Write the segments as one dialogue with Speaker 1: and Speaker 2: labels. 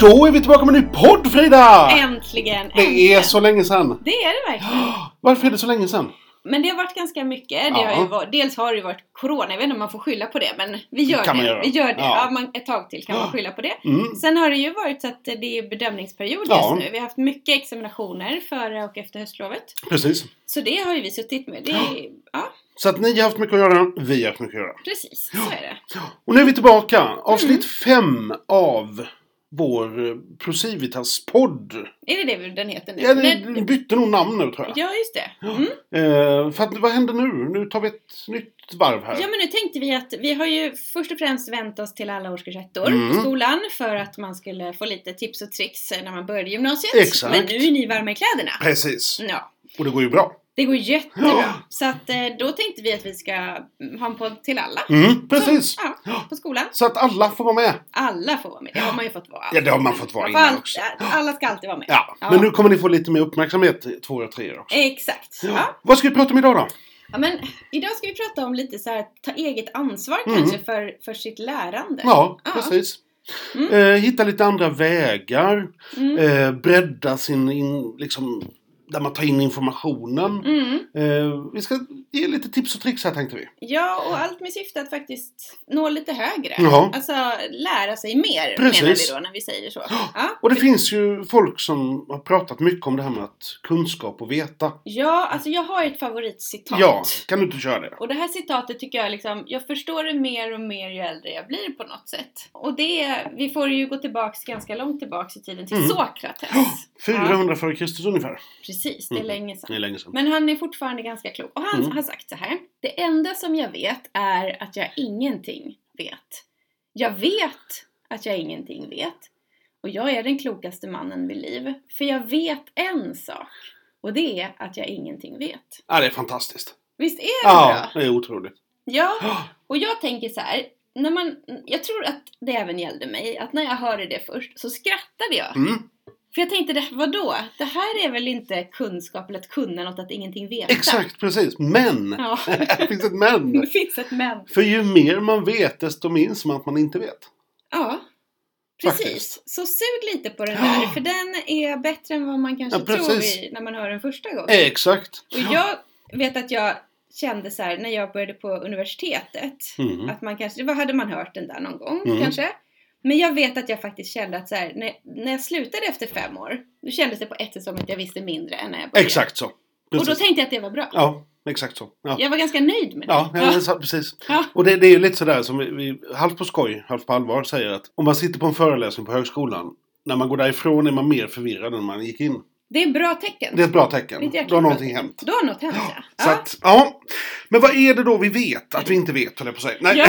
Speaker 1: Då är vi tillbaka med en ny podd Frida!
Speaker 2: Äntligen!
Speaker 1: Det
Speaker 2: äntligen.
Speaker 1: är så länge sedan.
Speaker 2: Det är det verkligen.
Speaker 1: Varför är det så länge sedan?
Speaker 2: Men det har varit ganska mycket. Det
Speaker 1: Ja.
Speaker 2: har ju varit, dels har det ju varit corona, jag vet inte om man får skylla på det, men vi gör
Speaker 1: kan
Speaker 2: det.
Speaker 1: man göra.
Speaker 2: Vi gör det.
Speaker 1: Ja.
Speaker 2: Ja. man, ett tag till kan man
Speaker 1: Ja.
Speaker 2: skylla på det.
Speaker 1: Mm.
Speaker 2: Sen har det ju varit så att det är bedömningsperiod just
Speaker 1: Ja.
Speaker 2: nu. Vi har haft mycket examinationer före och efter höstlovet.
Speaker 1: Precis.
Speaker 2: Så det har ju vi suttit med. Det är, ja,
Speaker 1: Så att ni har haft mycket att göra, vi har haft mycket att göra.
Speaker 2: precis. Så är det.
Speaker 1: Och nu är vi tillbaka.
Speaker 2: Mm.
Speaker 1: Avsnitt fem av vår eh, Procivitas-podd.
Speaker 2: Är det det den heter nu?
Speaker 1: Ja,
Speaker 2: Men-
Speaker 1: den bytte nog namn nu tror jag.
Speaker 2: ja just det. Mm.
Speaker 1: Eh, för att, vad händer nu? Nu tar vi ett nytt varv här.
Speaker 2: Ja men nu tänkte vi att vi har ju först och främst vänt oss till alla årskurs ettor
Speaker 1: Mm.
Speaker 2: i skolan för att man skulle få lite tips och tricks när man började gymnasiet.
Speaker 1: Exakt.
Speaker 2: Men nu är ni varma i kläderna.
Speaker 1: Precis.
Speaker 2: Ja,
Speaker 1: Och det går ju bra.
Speaker 2: det går jättebra.
Speaker 1: Ja.
Speaker 2: Så att eh, då tänkte vi att vi ska mm, ha en podd till alla.
Speaker 1: Mm, precis.
Speaker 2: Så, ja, på skolan.
Speaker 1: Så att alla får vara med.
Speaker 2: Alla får vara med. Det har man ju fått vara.
Speaker 1: Ja, det har man fått vara
Speaker 2: Man får
Speaker 1: innan
Speaker 2: all-
Speaker 1: också.
Speaker 2: alla ska alltid vara med.
Speaker 1: Ja.
Speaker 2: Ja.
Speaker 1: Men nu kommer ni få lite mer uppmärksamhet, två och tre också.
Speaker 2: Exakt. Ja.
Speaker 1: Vad ska vi prata om idag då?
Speaker 2: Ja, men idag ska vi prata om lite så här att ta eget ansvar
Speaker 1: Mm.
Speaker 2: kanske för, för sitt lärande.
Speaker 1: Ja,
Speaker 2: Ja.
Speaker 1: precis.
Speaker 2: Mm.
Speaker 1: Eh, hitta lite andra vägar.
Speaker 2: Mm.
Speaker 1: Eh, bredda sin, in, liksom, där man tar in informationen.
Speaker 2: Mm.
Speaker 1: Eh, vi ska ge lite tips och tricks här tänkte vi.
Speaker 2: Ja, och allt med syfte att faktiskt nå lite högre.
Speaker 1: Ja.
Speaker 2: Alltså lära sig mer menar
Speaker 1: Precis.
Speaker 2: vi då när vi säger så. Ja.
Speaker 1: Och det finns ju folk som har pratat mycket om det här med att kunskap och veta.
Speaker 2: ja, alltså jag har ett favoritcitat.
Speaker 1: Ja, kan du inte köra det?
Speaker 2: Och det här citatet tycker jag liksom, jag förstår det mer och mer ju äldre jag blir på något sätt. Och det, är- vi får ju gå tillbaks ganska långt tillbaks i tiden till
Speaker 1: Mm.
Speaker 2: Sokrates.
Speaker 1: 400 före Kristus ungefär.
Speaker 2: Precis, det är
Speaker 1: Mm.
Speaker 2: länge sedan.
Speaker 1: Det är länge sedan.
Speaker 2: Men han är fortfarande ganska klok och han
Speaker 1: Mm.
Speaker 2: har sagt så här. Det enda som jag vet är att jag ingenting vet. Jag vet att jag ingenting vet. Och jag är den klokaste mannen vid liv. För jag vet en sak. Och det är att jag ingenting vet.
Speaker 1: Ja, det är fantastiskt.
Speaker 2: Visst är det
Speaker 1: Ja,
Speaker 2: bra?
Speaker 1: det är otroligt.
Speaker 2: Ja, och jag tänker så här. När man, jag tror att det även gällde mig, att när jag hörde det först så skrattade jag.
Speaker 1: Mm,
Speaker 2: För jag tänkte, det- vadå? Det här är väl inte kunskap eller att kunna något, att ingenting veta?
Speaker 1: exakt, precis. Men!
Speaker 2: Ja.
Speaker 1: Det finns ett men.
Speaker 2: Det finns ett men.
Speaker 1: För ju mer man vet, desto minns man att man inte vet.
Speaker 2: Ja, precis.
Speaker 1: Faktiskt.
Speaker 2: Så sug lite på den där, för den är bättre än vad man kanske
Speaker 1: Ja,
Speaker 2: tror
Speaker 1: precis. Eh,
Speaker 2: i, när man hör den första gången.
Speaker 1: Exakt.
Speaker 2: Och jag vet att jag kände så här när jag började på universitetet,
Speaker 1: Mm.
Speaker 2: att man kanske, vad hade man hört den där någon gång
Speaker 1: Mm.
Speaker 2: kanske? Men jag vet att jag faktiskt kände att så här, när, när jag slutade efter fem år, då kändes det på ett sätt som att jag visste mindre än när jag började.
Speaker 1: Exakt så.
Speaker 2: Och då
Speaker 1: Precis.
Speaker 2: tänkte jag att det var bra.
Speaker 1: Ja, exakt så. Ja,
Speaker 2: Jag var ganska nöjd med det.
Speaker 1: ja, ja. så- precis.
Speaker 2: Ja.
Speaker 1: Och det, det är ju lite sådär som vi, vi halvt på skoj, halvt på allvar säger att om man sitter på en föreläsning på högskolan, när man går därifrån är man mer förvirrad än man gick in.
Speaker 2: Det är ett bra tecken.
Speaker 1: Det är ett bra
Speaker 2: Det är
Speaker 1: tecken.
Speaker 2: ett jäkla
Speaker 1: Då har
Speaker 2: bra
Speaker 1: någonting
Speaker 2: tecken.
Speaker 1: hänt.
Speaker 2: Då har något hänt, ja.
Speaker 1: Så att, ja. Men vad är det då vi vet att vi inte vet, höll jag på att säga. Nej.
Speaker 2: Ja,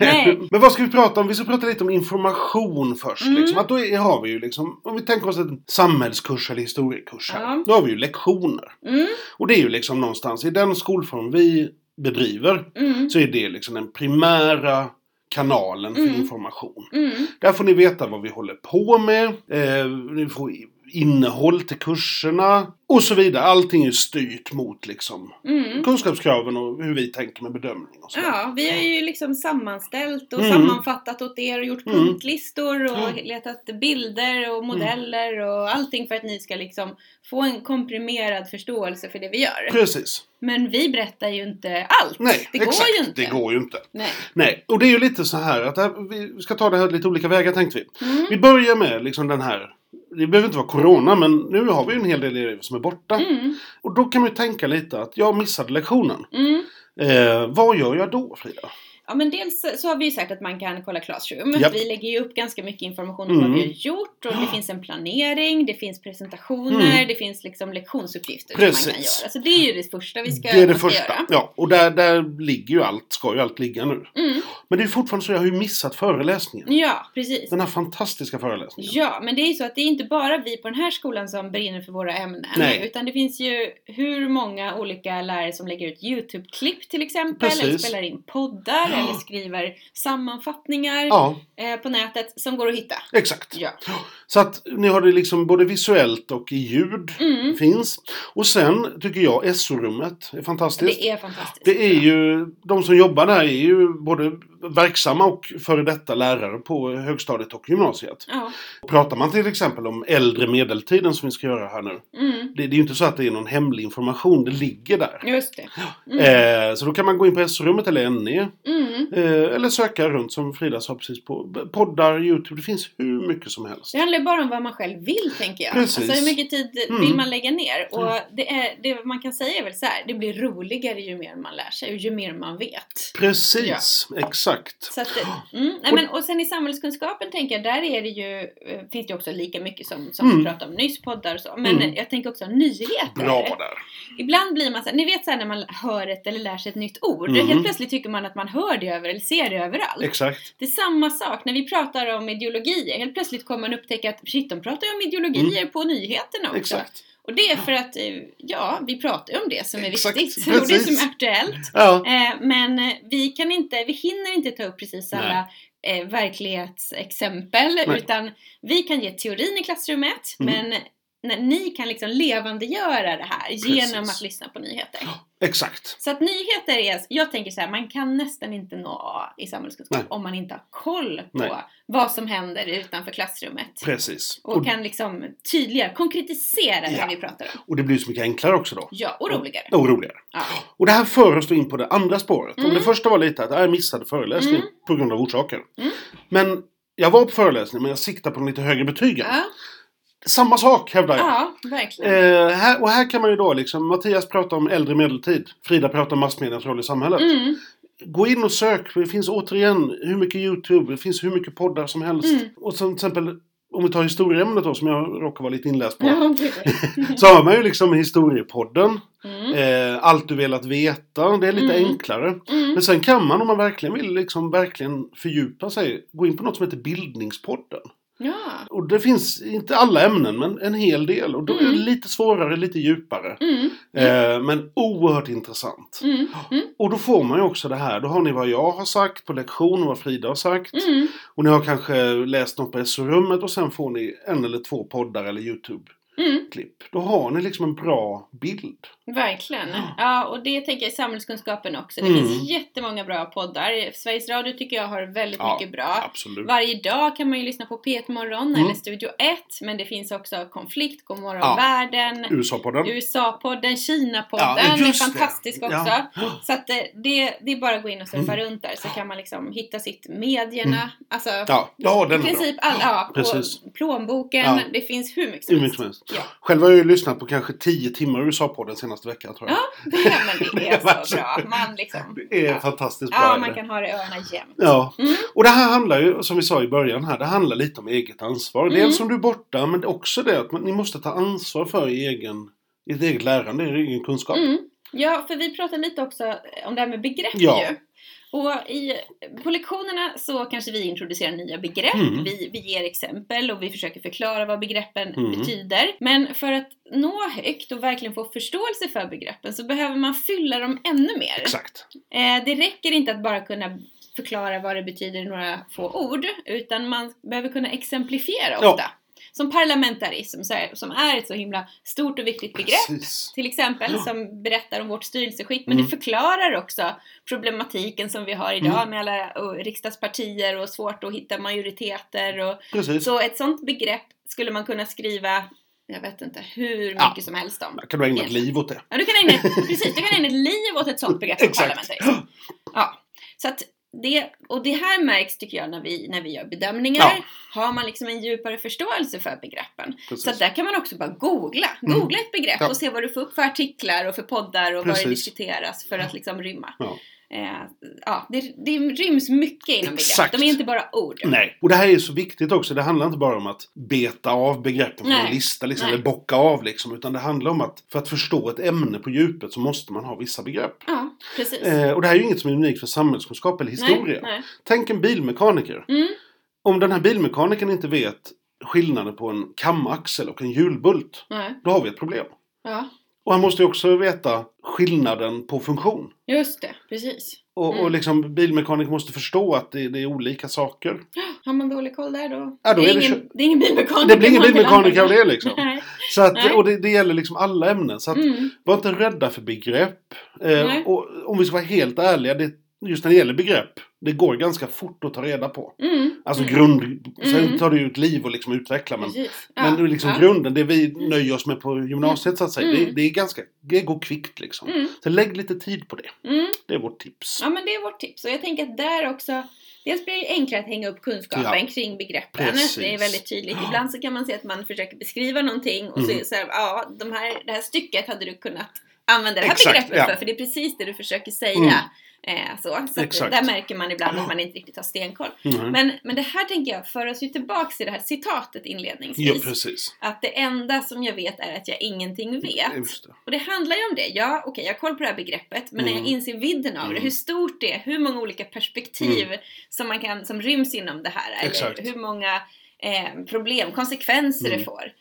Speaker 2: nej.
Speaker 1: Men vad ska vi prata om? Vi ska prata lite om information först.
Speaker 2: Mm.
Speaker 1: Liksom. Att då är, har vi ju liksom, om vi tänker oss en samhällskurs eller historiekurs här.
Speaker 2: Ja.
Speaker 1: Då har vi ju lektioner.
Speaker 2: Mm,
Speaker 1: Och det är ju liksom någonstans, i den skolform vi bedriver,
Speaker 2: mm,
Speaker 1: så är det liksom den primära kanalen för
Speaker 2: Mm.
Speaker 1: information.
Speaker 2: mm.
Speaker 1: Där får ni veta vad vi håller på med, eh, ni får i- innehåll till kurserna och så vidare. Allting är ju styrt mot liksom
Speaker 2: Mm.
Speaker 1: kunskapskraven och hur vi tänker med bedömning och så.
Speaker 2: Ja, vi har ju liksom sammanställt och
Speaker 1: Mm.
Speaker 2: sammanfattat åt er och gjort
Speaker 1: Mm.
Speaker 2: punktlistor och
Speaker 1: Mm.
Speaker 2: letat bilder och modeller och allting för att ni ska liksom få en komprimerad förståelse för det vi gör.
Speaker 1: Precis. Men
Speaker 2: Men vi berättar ju inte allt.
Speaker 1: Nej,
Speaker 2: det går
Speaker 1: exakt.
Speaker 2: ju inte.
Speaker 1: Det går ju inte.
Speaker 2: Nej.
Speaker 1: Nej, och det är ju lite så här att det här, vi ska ta det här lite olika vägar tänkte vi.
Speaker 2: Mm.
Speaker 1: Vi börjar med liksom den här, det behöver inte vara corona, men nu har vi ju en hel del elever som är borta.
Speaker 2: Mm.
Speaker 1: Och då kan man ju tänka lite att jag missade lektionen.
Speaker 2: Mm.
Speaker 1: Eh, vad gör jag då Frida?
Speaker 2: Ja men dels så har vi ju sagt att man kan kolla Classroom.
Speaker 1: Japp.
Speaker 2: Vi lägger ju upp ganska mycket information om
Speaker 1: Mm.
Speaker 2: vad vi har gjort och det finns en planering, det finns presentationer,
Speaker 1: Mm.
Speaker 2: det finns liksom lektionsuppgifter som man kan
Speaker 1: Precis.
Speaker 2: göra. Så det är ju det första vi ska,
Speaker 1: det är det
Speaker 2: man ska
Speaker 1: första.
Speaker 2: göra.
Speaker 1: Ja, och där, där ligger ju allt, ska ju allt ligga nu.
Speaker 2: Mm.
Speaker 1: Men det är ju fortfarande så, jag har ju missat föreläsningen.
Speaker 2: Ja, precis.
Speaker 1: Den här fantastiska föreläsningen.
Speaker 2: Ja, men det är ju så att det är inte bara vi på den här skolan som brinner för våra ämnen.
Speaker 1: Nej.
Speaker 2: Utan det finns ju hur många olika lärare som lägger ut YouTube-klipp till exempel. Eller
Speaker 1: Precis.
Speaker 2: spelar in poddar
Speaker 1: Ja.
Speaker 2: eller skriver sammanfattningar
Speaker 1: Ja,
Speaker 2: eh, på nätet som går att hitta.
Speaker 1: exakt.
Speaker 2: Ja.
Speaker 1: Så att ni har det liksom både visuellt och i ljud.
Speaker 2: Mm.
Speaker 1: Finns. Och sen tycker jag SO-rummet är fantastiskt.
Speaker 2: Det är fantastiskt.
Speaker 1: Det är ju, de som jobbar där är ju både verksamma och före detta lärare på högstadiet och gymnasiet.
Speaker 2: Ja.
Speaker 1: Pratar man till exempel om äldre medeltiden som vi ska göra här nu.
Speaker 2: Mm.
Speaker 1: Det, det är ju inte så att det är någon hemlig information, det ligger där.
Speaker 2: Just det.
Speaker 1: Eh, så då kan man gå in på S-rummet eller NE.
Speaker 2: Mm.
Speaker 1: Eh, eller söka runt som Frida sa precis på b- poddar, YouTube. Det finns hur mycket som helst.
Speaker 2: Det handlar ju bara om vad man själv vill, tänker jag.
Speaker 1: Precis.
Speaker 2: Alltså hur mycket tid
Speaker 1: Mm.
Speaker 2: vill man lägga ner? Och det, är, det man kan säga är väl så här, det blir roligare ju mer man lär sig och ju mer man vet.
Speaker 1: Precis, exakt.
Speaker 2: Så att, det- mm, nej men, och sen i samhällskunskapen tänker jag, där är det ju, eh, finns det också lika mycket som, som
Speaker 1: Mm.
Speaker 2: vi pratade om nyss, poddar och så. Men
Speaker 1: Mm.
Speaker 2: eh, jag tänker också nyheter.
Speaker 1: Bra där.
Speaker 2: Ibland blir man så här, ni vet så här när man hör ett eller lär sig ett nytt ord.
Speaker 1: Mm.
Speaker 2: Helt plötsligt tycker man att man hör det över eller ser det överallt.
Speaker 1: Exakt.
Speaker 2: Det är samma sak när vi pratar om ideologier. Helt plötsligt kommer man upptäcka att shit, de pratar ju om ideologier på nyheterna också.
Speaker 1: Mm. Exakt.
Speaker 2: Och det är för att, eh, ja, vi pratar ju om det som är
Speaker 1: Exakt,
Speaker 2: viktigt och det
Speaker 1: precis.
Speaker 2: som är aktuellt.
Speaker 1: Ja,
Speaker 2: Eh, Men eh, vi kan inte, vi hinner inte ta upp precis alla eh, verklighetsexempel
Speaker 1: Nej.
Speaker 2: utan vi kan ge teorin i klassrummet
Speaker 1: Mm.
Speaker 2: men när ni kan liksom levandegöra det här genom
Speaker 1: Precis.
Speaker 2: att lyssna på nyheter.
Speaker 1: exakt.
Speaker 2: Så att nyheter är, jag tänker så här, man kan nästan inte nå A i samhällskunskap
Speaker 1: Nej.
Speaker 2: om man inte har koll på
Speaker 1: Nej.
Speaker 2: vad som händer utanför klassrummet.
Speaker 1: Precis.
Speaker 2: Och,
Speaker 1: Och,
Speaker 2: kan liksom tydligare
Speaker 1: Ja.
Speaker 2: konkretisera det vi pratar om.
Speaker 1: och det blir så mycket enklare också då.
Speaker 2: Ja, och roligare.
Speaker 1: Och roligare.
Speaker 2: Ja.
Speaker 1: Och det här för oss då in på det andra spåret. Om
Speaker 2: Mm.
Speaker 1: det första var lite att "Ah, jag missade föreläsningen
Speaker 2: Mm.
Speaker 1: på grund av orsaker.
Speaker 2: Mm.
Speaker 1: Men jag var på föreläsningen men jag siktade på de lite högre betygen.
Speaker 2: Ja,
Speaker 1: Samma sak hävdar jag.
Speaker 2: ja, verkligen.
Speaker 1: Eh, här, och här kan man ju då liksom, Mattias pratar om äldre medeltid. Frida pratar om massmedias roll i samhället.
Speaker 2: Mm,
Speaker 1: Gå in och sök, för det finns återigen hur mycket YouTube, det finns hur mycket poddar som helst.
Speaker 2: Mm.
Speaker 1: Och som till exempel, om vi tar historieämnet då, som jag råkar vara lite inläst på.
Speaker 2: ja, precis.
Speaker 1: Så har man ju liksom historiepodden,
Speaker 2: Mm,
Speaker 1: eh, Allt du velat veta, det är lite
Speaker 2: Mm.
Speaker 1: enklare.
Speaker 2: mm.
Speaker 1: Men sen kan man, om man verkligen vill liksom verkligen fördjupa sig, gå in på något som heter Bildningspodden.
Speaker 2: Ja.
Speaker 1: Och det finns, inte alla ämnen, men en hel del. Och då är det
Speaker 2: Mm.
Speaker 1: lite svårare, lite djupare.
Speaker 2: Mm,
Speaker 1: Eh, men oerhört intressant.
Speaker 2: mm, mm,
Speaker 1: Och då får man ju också det här. Då har ni vad jag har sagt på lektion och vad Frida har sagt.
Speaker 2: mm.
Speaker 1: Och ni har kanske läst något på SO-rummet och sen får ni en eller två poddar eller YouTube-klipp.
Speaker 2: Mm,
Speaker 1: Då har ni liksom en bra bild.
Speaker 2: verkligen.
Speaker 1: Ja.
Speaker 2: Ja, och det tänker jag i samhällskunskapen också. Det
Speaker 1: Mm.
Speaker 2: finns jättemånga bra poddar. Sveriges Radio tycker jag har väldigt
Speaker 1: Ja,
Speaker 2: mycket bra.
Speaker 1: Absolut.
Speaker 2: Varje dag kan man ju lyssna på P1 Morgon
Speaker 1: Mm.
Speaker 2: eller Studio 1, men det finns också Konflikt, Godmorgon
Speaker 1: Ja.
Speaker 2: Världen,
Speaker 1: USA-podden.
Speaker 2: USA-podden, Kina-podden
Speaker 1: Ja,
Speaker 2: är
Speaker 1: just det.
Speaker 2: fantastisk också.
Speaker 1: Ja. Mm.
Speaker 2: Så att eh, det, det är bara att gå in och surfa runt där så kan man liksom hitta sitt medierna, alltså
Speaker 1: Ja, Mm. ja den
Speaker 2: i
Speaker 1: är bra.
Speaker 2: princip all, ja,
Speaker 1: Precis.
Speaker 2: på plånboken,
Speaker 1: Ja.
Speaker 2: det finns hur mycket
Speaker 1: Hur
Speaker 2: som
Speaker 1: mycket
Speaker 2: helst.
Speaker 1: som helst.
Speaker 2: Ja.
Speaker 1: Själv har jag ju lyssnat på kanske 10 timmar USA-podden senaste veckan tror jag.
Speaker 2: Ja, men det
Speaker 1: Det var
Speaker 2: är
Speaker 1: så-
Speaker 2: så bra. Man liksom,
Speaker 1: Det är
Speaker 2: ja.
Speaker 1: fantastiskt bra.
Speaker 2: ja,
Speaker 1: är det.
Speaker 2: man kan ha det i öronen jämt.
Speaker 1: Ja,
Speaker 2: Mm.
Speaker 1: och det här handlar ju, som vi sa i början här, det handlar lite om eget ansvar.
Speaker 2: Mm.
Speaker 1: Dels om du är borta, men också det att man, ni måste ta ansvar för er egen, ert eget lärande, er egen kunskap.
Speaker 2: Mm. Ja, för vi pratade lite också eh, om det här med begrepp
Speaker 1: Ja.
Speaker 2: ju. Och i, på lektionerna så kanske vi introducerar nya begrepp,
Speaker 1: Mm.
Speaker 2: vi, vi ger exempel och vi försöker förklara vad begreppen
Speaker 1: Mm.
Speaker 2: betyder. Men för att nå högt och verkligen få förståelse för begreppen så behöver man fylla dem ännu mer.
Speaker 1: Exakt.
Speaker 2: Eh, det räcker inte att bara kunna förklara vad det betyder i några få ord, utan man behöver kunna exemplifiera
Speaker 1: Ja.
Speaker 2: ofta. Som parlamentarism, så är- som är ett så himla stort och viktigt begrepp
Speaker 1: Precis.
Speaker 2: till exempel
Speaker 1: Ja.
Speaker 2: som berättar om vårt styrelseskick men
Speaker 1: Mm.
Speaker 2: det förklarar också problematiken som vi har idag
Speaker 1: Mm.
Speaker 2: med alla och riksdagspartier och svårt att hitta majoriteter och
Speaker 1: Precis.
Speaker 2: så ett sånt begrepp skulle man kunna skriva jag vet inte hur
Speaker 1: Ja.
Speaker 2: mycket som helst om.
Speaker 1: Kan du ägna ett liv åt det?
Speaker 2: Ja, du kan ägna, precis, du kan ägna ett liv åt ett sånt begrepp som
Speaker 1: Exakt.
Speaker 2: parlamentarism. Ja, så att det, och det här märks tycker jag när vi, när vi gör bedömningar.
Speaker 1: Ja.
Speaker 2: Har man liksom en djupare förståelse för begreppen? Så att
Speaker 1: Precis.
Speaker 2: där kan man också bara googla.
Speaker 1: Mm.
Speaker 2: Googla ett begrepp
Speaker 1: Ja.
Speaker 2: och se vad du får upp för artiklar och för poddar och vad
Speaker 1: Precis.
Speaker 2: det diskuteras för att liksom rymma.
Speaker 1: Ja.
Speaker 2: Eh, ja, det, det ryms mycket inom
Speaker 1: Exakt.
Speaker 2: begrepp. De är inte bara ord.
Speaker 1: Nej, och det här är så viktigt också. Det handlar inte bara om att beta av begreppen från en
Speaker 2: Nej.
Speaker 1: lista, liksom,
Speaker 2: Nej.
Speaker 1: eller bocka av liksom, utan det handlar om att för att förstå ett ämne på djupet så måste man ha vissa begrepp.
Speaker 2: Ja, precis.
Speaker 1: Eh, och det här är ju inget som är unikt för samhällskunskap eller historia.
Speaker 2: Nej, nej.
Speaker 1: Tänk en bilmekaniker.
Speaker 2: Mm,
Speaker 1: Om den här bilmekanikern inte vet skillnaden på en kamaxel och en hjulbult,
Speaker 2: nej.
Speaker 1: då har vi ett problem.
Speaker 2: Ja,
Speaker 1: Och han måste ju också veta skillnaden på funktion.
Speaker 2: just det. Precis.
Speaker 1: Och, och
Speaker 2: Mm.
Speaker 1: liksom bilmekaniker måste förstå att det, det är olika saker.
Speaker 2: Har man dålig koll där då?
Speaker 1: Ja, då
Speaker 2: det,
Speaker 1: är
Speaker 2: är
Speaker 1: det
Speaker 2: ingen, det är ingen bilmekaniker.
Speaker 1: Det blir ingen
Speaker 2: man kan
Speaker 1: bilmekaniker av
Speaker 2: använda.
Speaker 1: det liksom.
Speaker 2: Nej.
Speaker 1: Så att,
Speaker 2: Nej.
Speaker 1: och det, det gäller liksom alla ämnen. Så att,
Speaker 2: Mm,
Speaker 1: var inte rädda för begrepp. Eh,
Speaker 2: Nej.
Speaker 1: och om vi ska vara helt ärliga, det just när det gäller begrepp, det går ganska fort att ta reda på.
Speaker 2: Mm.
Speaker 1: Alltså
Speaker 2: mm.
Speaker 1: grund... Sen
Speaker 2: Mm.
Speaker 1: tar det ju ett liv att liksom utveckla men...
Speaker 2: Precis. Ja,
Speaker 1: Men det är liksom
Speaker 2: ja.
Speaker 1: grunden, det vi nöjer oss med på gymnasiet så att säga,
Speaker 2: Mm.
Speaker 1: det, det är ganska... Det går kvickt liksom.
Speaker 2: Mm.
Speaker 1: Så lägg lite tid på det.
Speaker 2: Mm.
Speaker 1: Det är vårt tips.
Speaker 2: Ja men det är vårt tips och jag tänker att där också Dels blir det enklare att hänga upp kunskapen kring begreppen.
Speaker 1: Precis.
Speaker 2: Det är väldigt tydligt.
Speaker 1: Ja.
Speaker 2: Ibland så kan man se att man försöker beskriva någonting och så är
Speaker 1: Mm.
Speaker 2: det så här, ja, de här, det här stycket hade du kunnat använda det här
Speaker 1: Exakt,
Speaker 2: begreppet
Speaker 1: ja.
Speaker 2: för, för det är precis det du försöker säga.
Speaker 1: Mm.
Speaker 2: Eh, så så att
Speaker 1: Exakt.
Speaker 2: där märker man ibland att
Speaker 1: Ja.
Speaker 2: man inte riktigt har stenkoll.
Speaker 1: Mm.
Speaker 2: Men, men det här tänker jag för oss ju tillbaks till det här citatet
Speaker 1: Ja,
Speaker 2: inledningsvis.
Speaker 1: precis.
Speaker 2: att det enda som jag vet är att jag ingenting vet.
Speaker 1: Just det.
Speaker 2: Och det handlar ju om det. Ja, okej, jag har koll på det här begreppet, men när
Speaker 1: Mm.
Speaker 2: jag inser vidden av det,
Speaker 1: Mm.
Speaker 2: hur stort det är, hur många olika perspektiv som, man kan, som ryms inom det här, eller
Speaker 1: Exakt.
Speaker 2: hur många eh, problem, konsekvenser det
Speaker 1: Mm.
Speaker 2: får,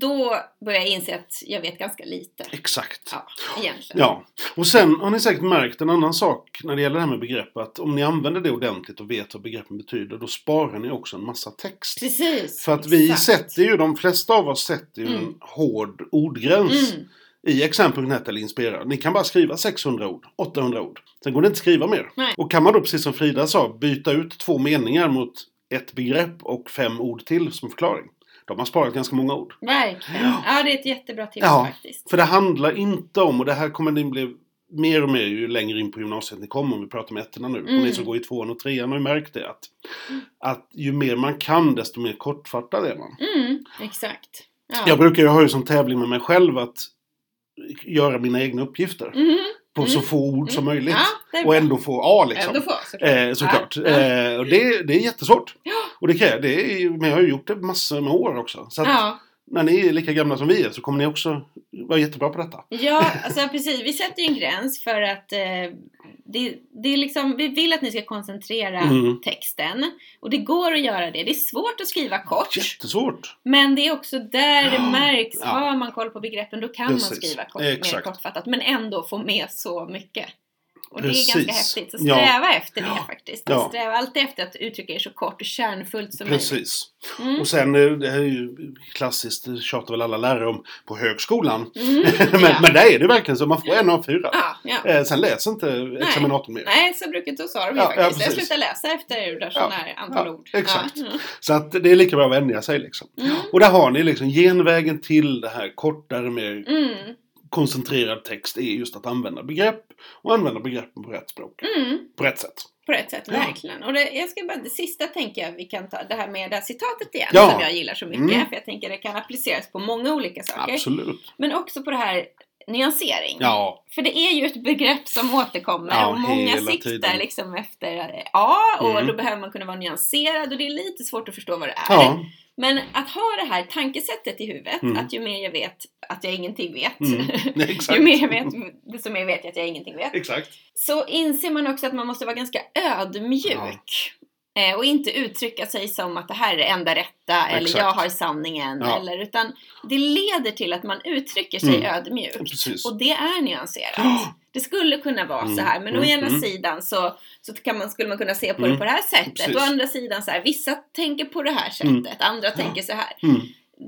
Speaker 2: då börjar jag inse att jag vet ganska lite.
Speaker 1: Exakt.
Speaker 2: Ja, egentligen.
Speaker 1: Ja, och sen har ni säkert märkt en annan sak när det gäller det här med begrepp. Att om ni använder det ordentligt och vet vad begreppen betyder, då sparar ni också en massa text.
Speaker 2: Precis!
Speaker 1: För att vi
Speaker 2: exakt.
Speaker 1: sätter ju, de flesta av oss sätter ju en
Speaker 2: Mm.
Speaker 1: hård ordgräns
Speaker 2: Mm,
Speaker 1: i exempelnet eller inspirera. Ni kan bara skriva 600 ord, 800 ord. Sen går det inte att skriva mer.
Speaker 2: Nej.
Speaker 1: Och kan man då, precis som Frida sa, byta ut två meningar mot ett begrepp och fem ord till som förklaring. Då har man sparat ganska många ord.
Speaker 2: verkligen.
Speaker 1: Ja.
Speaker 2: Ja. det är ett jättebra tips
Speaker 1: Ja.
Speaker 2: faktiskt.
Speaker 1: För det handlar inte om, och det här kommer ni bli mer och mer ju längre in på gymnasiet ni kommer, om vi pratar med ettorna nu. Och
Speaker 2: Mm.
Speaker 1: ni som går i tvåan och trean har ju märkt det att, att ju mer man kan desto mer kortfattad är man.
Speaker 2: Mm, exakt. Ja.
Speaker 1: Jag brukar ju ha ju som tävling med mig själv att göra mina egna uppgifter
Speaker 2: Mhm,
Speaker 1: på så
Speaker 2: Mm.
Speaker 1: få ord som
Speaker 2: mm.
Speaker 1: möjligt.
Speaker 2: Ja, det är
Speaker 1: Och
Speaker 2: bra.
Speaker 1: ändå få A liksom.
Speaker 2: Ändå får, såklart.
Speaker 1: Eh, såklart.
Speaker 2: Ja.
Speaker 1: Eh, och det, det är jättesvårt.
Speaker 2: Ja.
Speaker 1: Och det, kan jag, det är, ju- men jag har ju gjort det massor med år också. Så att
Speaker 2: Ja.
Speaker 1: när ni är lika gamla som vi är så kommer ni också vara jättebra på detta.
Speaker 2: Ja, alltså precis. Vi sätter ju en gräns för att eh, det, det är liksom, vi vill att ni ska koncentrera
Speaker 1: Mm.
Speaker 2: texten. Och det går att göra det. Det är svårt att skriva kort.
Speaker 1: Jättesvårt.
Speaker 2: Men det är också där det
Speaker 1: Ja,
Speaker 2: märks.
Speaker 1: ja.
Speaker 2: Har man koll på begreppen då kan man
Speaker 1: Precis,
Speaker 2: skriva kort, mer
Speaker 1: exakt.
Speaker 2: kortfattat. Men ändå få med så mycket. Och
Speaker 1: Precis.
Speaker 2: det är ganska häftigt. Så
Speaker 1: Ja.
Speaker 2: sträva efter det
Speaker 1: Ja.
Speaker 2: faktiskt.
Speaker 1: Ja.
Speaker 2: Sträva alltid efter att uttrycka er så kort och kärnfullt som möjligt.
Speaker 1: Precis.
Speaker 2: Mm.
Speaker 1: Och sen, eh, det här är ju klassiskt, det tjatar väl alla lärare om på högskolan.
Speaker 2: Mm.
Speaker 1: men,
Speaker 2: ja.
Speaker 1: men där är det verkligen så, man får en av fyra.
Speaker 2: ja, ja.
Speaker 1: Eh, sen läser inte examinatorn mer.
Speaker 2: Nej, så brukar så sa de ju
Speaker 1: Ja, ja,
Speaker 2: faktiskt. jag
Speaker 1: precis.
Speaker 2: slutade läsa efter det där
Speaker 1: Ja,
Speaker 2: sådana här antal
Speaker 1: ja,
Speaker 2: ord.
Speaker 1: exakt.
Speaker 2: Ja.
Speaker 1: Så att det är lika bra att vänja sig liksom.
Speaker 2: Mm.
Speaker 1: Och där har ni liksom genvägen till det här kortare, mer
Speaker 2: Mm.
Speaker 1: koncentrerad text är just att använda begrepp och använda begreppen på rätt språk,
Speaker 2: Mm.
Speaker 1: på rätt sätt.
Speaker 2: På rätt sätt,
Speaker 1: Ja.
Speaker 2: verkligen. Och det, jag ska bara, det sista tänker jag vi kan ta, det här med det här citatet igen
Speaker 1: Ja.
Speaker 2: som jag gillar så mycket.
Speaker 1: Mm.
Speaker 2: För jag tänker det kan appliceras på många olika saker.
Speaker 1: Absolut.
Speaker 2: Men också på det här nyansering.
Speaker 1: Ja,
Speaker 2: För det är ju ett begrepp som återkommer
Speaker 1: Ja,
Speaker 2: och många
Speaker 1: hela
Speaker 2: siktar
Speaker 1: tiden.
Speaker 2: liksom efter eh, A och
Speaker 1: Mm.
Speaker 2: då behöver man kunna vara nyanserad och det är lite svårt att förstå vad det är.
Speaker 1: ja.
Speaker 2: Men att ha det här tankesättet i huvudet,
Speaker 1: Mm.
Speaker 2: att ju mer jag vet att jag ingenting vet,
Speaker 1: Mm. exakt.
Speaker 2: ju mer jag vet, desto mer vet jag att jag ingenting vet.
Speaker 1: Exakt.
Speaker 2: Så inser man också att man måste vara ganska ödmjuk. Eh, Och inte uttrycka sig som att det här är det enda rätta eller
Speaker 1: Exakt.
Speaker 2: jag har sanningen.
Speaker 1: Ja.
Speaker 2: Eller, utan det leder till att man uttrycker sig
Speaker 1: Mm.
Speaker 2: ödmjukt.
Speaker 1: Precis.
Speaker 2: Och det är nyanserat.
Speaker 1: Ja.
Speaker 2: Det skulle kunna vara
Speaker 1: Mm,
Speaker 2: så här, men å
Speaker 1: mm,
Speaker 2: ena
Speaker 1: mm.
Speaker 2: sidan så, så kan man, skulle man kunna se på
Speaker 1: Mm,
Speaker 2: det på det här sättet.
Speaker 1: precis.
Speaker 2: Å andra sidan så här, vissa tänker på det här sättet,
Speaker 1: Mm.
Speaker 2: andra tänker så här.
Speaker 1: Mm.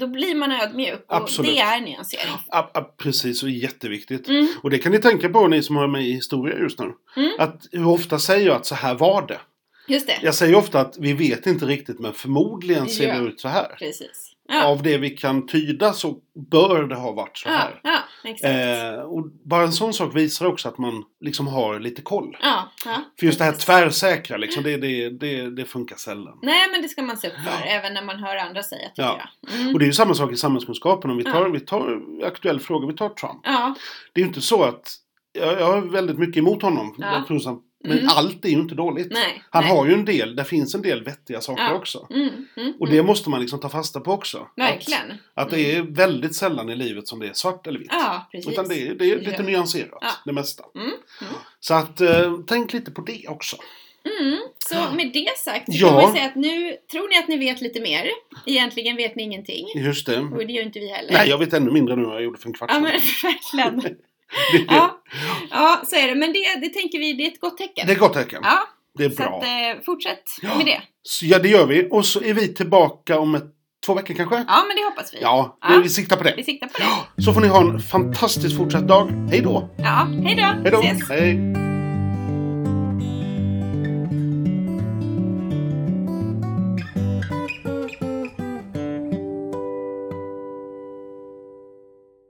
Speaker 2: Då blir man ödmjuk och
Speaker 1: Absolut.
Speaker 2: det är nyansering.
Speaker 1: Ja, ja, precis, och jätteviktigt.
Speaker 2: Mm,
Speaker 1: Och det kan ni tänka på ni som har mig i historia just nu.
Speaker 2: Mm.
Speaker 1: Att hur ofta säger jag att så här var det?
Speaker 2: just det,
Speaker 1: Jag säger ofta att vi vet inte riktigt men förmodligen ser
Speaker 2: Ja.
Speaker 1: det ut så här.
Speaker 2: precis. Ja,
Speaker 1: Av det vi kan tyda så bör det ha varit så
Speaker 2: ja,
Speaker 1: här.
Speaker 2: ja exakt.
Speaker 1: Eh, och bara en sån sak visar också att man liksom har lite koll.
Speaker 2: ja, ja.
Speaker 1: För just det här tvärsäkra liksom, det, det, det, det funkar sällan.
Speaker 2: Nej, men det ska man se upp för, även när man hör andra säga, tycker
Speaker 1: Ja.
Speaker 2: jag. Mm.
Speaker 1: Och det är ju samma sak i samhällskunskapen. Om vi tar, vi tar aktuell fråga, vi tar Trump.
Speaker 2: Ja,
Speaker 1: Det är ju inte så att, jag, jag har väldigt mycket emot honom.
Speaker 2: Ja.
Speaker 1: jag tror så- Men
Speaker 2: Mm.
Speaker 1: allt är ju inte dåligt.
Speaker 2: nej.
Speaker 1: Han
Speaker 2: nej.
Speaker 1: har ju en del, det finns en del vettiga saker
Speaker 2: Ja.
Speaker 1: också.
Speaker 2: Mm, mm,
Speaker 1: Och
Speaker 2: mm.
Speaker 1: det måste man liksom ta fasta på också.
Speaker 2: Verkligen.
Speaker 1: Att, att det är väldigt sällan i livet som det är svart eller vitt.
Speaker 2: Ja, precis.
Speaker 1: Utan det är, det är lite
Speaker 2: Ja.
Speaker 1: nyanserat,
Speaker 2: Ja.
Speaker 1: det mesta.
Speaker 2: Mm, mm.
Speaker 1: Så att, eh, tänk lite på det också.
Speaker 2: Mm, så med det sagt så
Speaker 1: Ja.
Speaker 2: kan man ju säga att nu tror ni att ni vet lite mer. Egentligen vet ni ingenting.
Speaker 1: Just det.
Speaker 2: Och det gör inte vi heller.
Speaker 1: Nej, jag vet ännu mindre nu än jag gjorde för en kvart
Speaker 2: Mm. Ja
Speaker 1: sedan.
Speaker 2: men verkligen.
Speaker 1: det,
Speaker 2: Ja, ja så är det. Men det, det tänker vi, det är ett gott tecken.
Speaker 1: det är ett gott tecken.
Speaker 2: Ja,
Speaker 1: det är
Speaker 2: så
Speaker 1: bra.
Speaker 2: att, eh, fortsätt
Speaker 1: Ja.
Speaker 2: med det.
Speaker 1: Så, ja, det gör vi. Och så är vi tillbaka om ett, två veckor kanske?
Speaker 2: Ja, men det hoppas vi.
Speaker 1: Ja,
Speaker 2: Ja.
Speaker 1: vi siktar på det.
Speaker 2: Vi siktar på det.
Speaker 1: Så får ni ha en fantastisk fortsatt dag. Hej då!
Speaker 2: Ja, hej då.
Speaker 1: Hej då!
Speaker 2: Ses.
Speaker 1: Hej!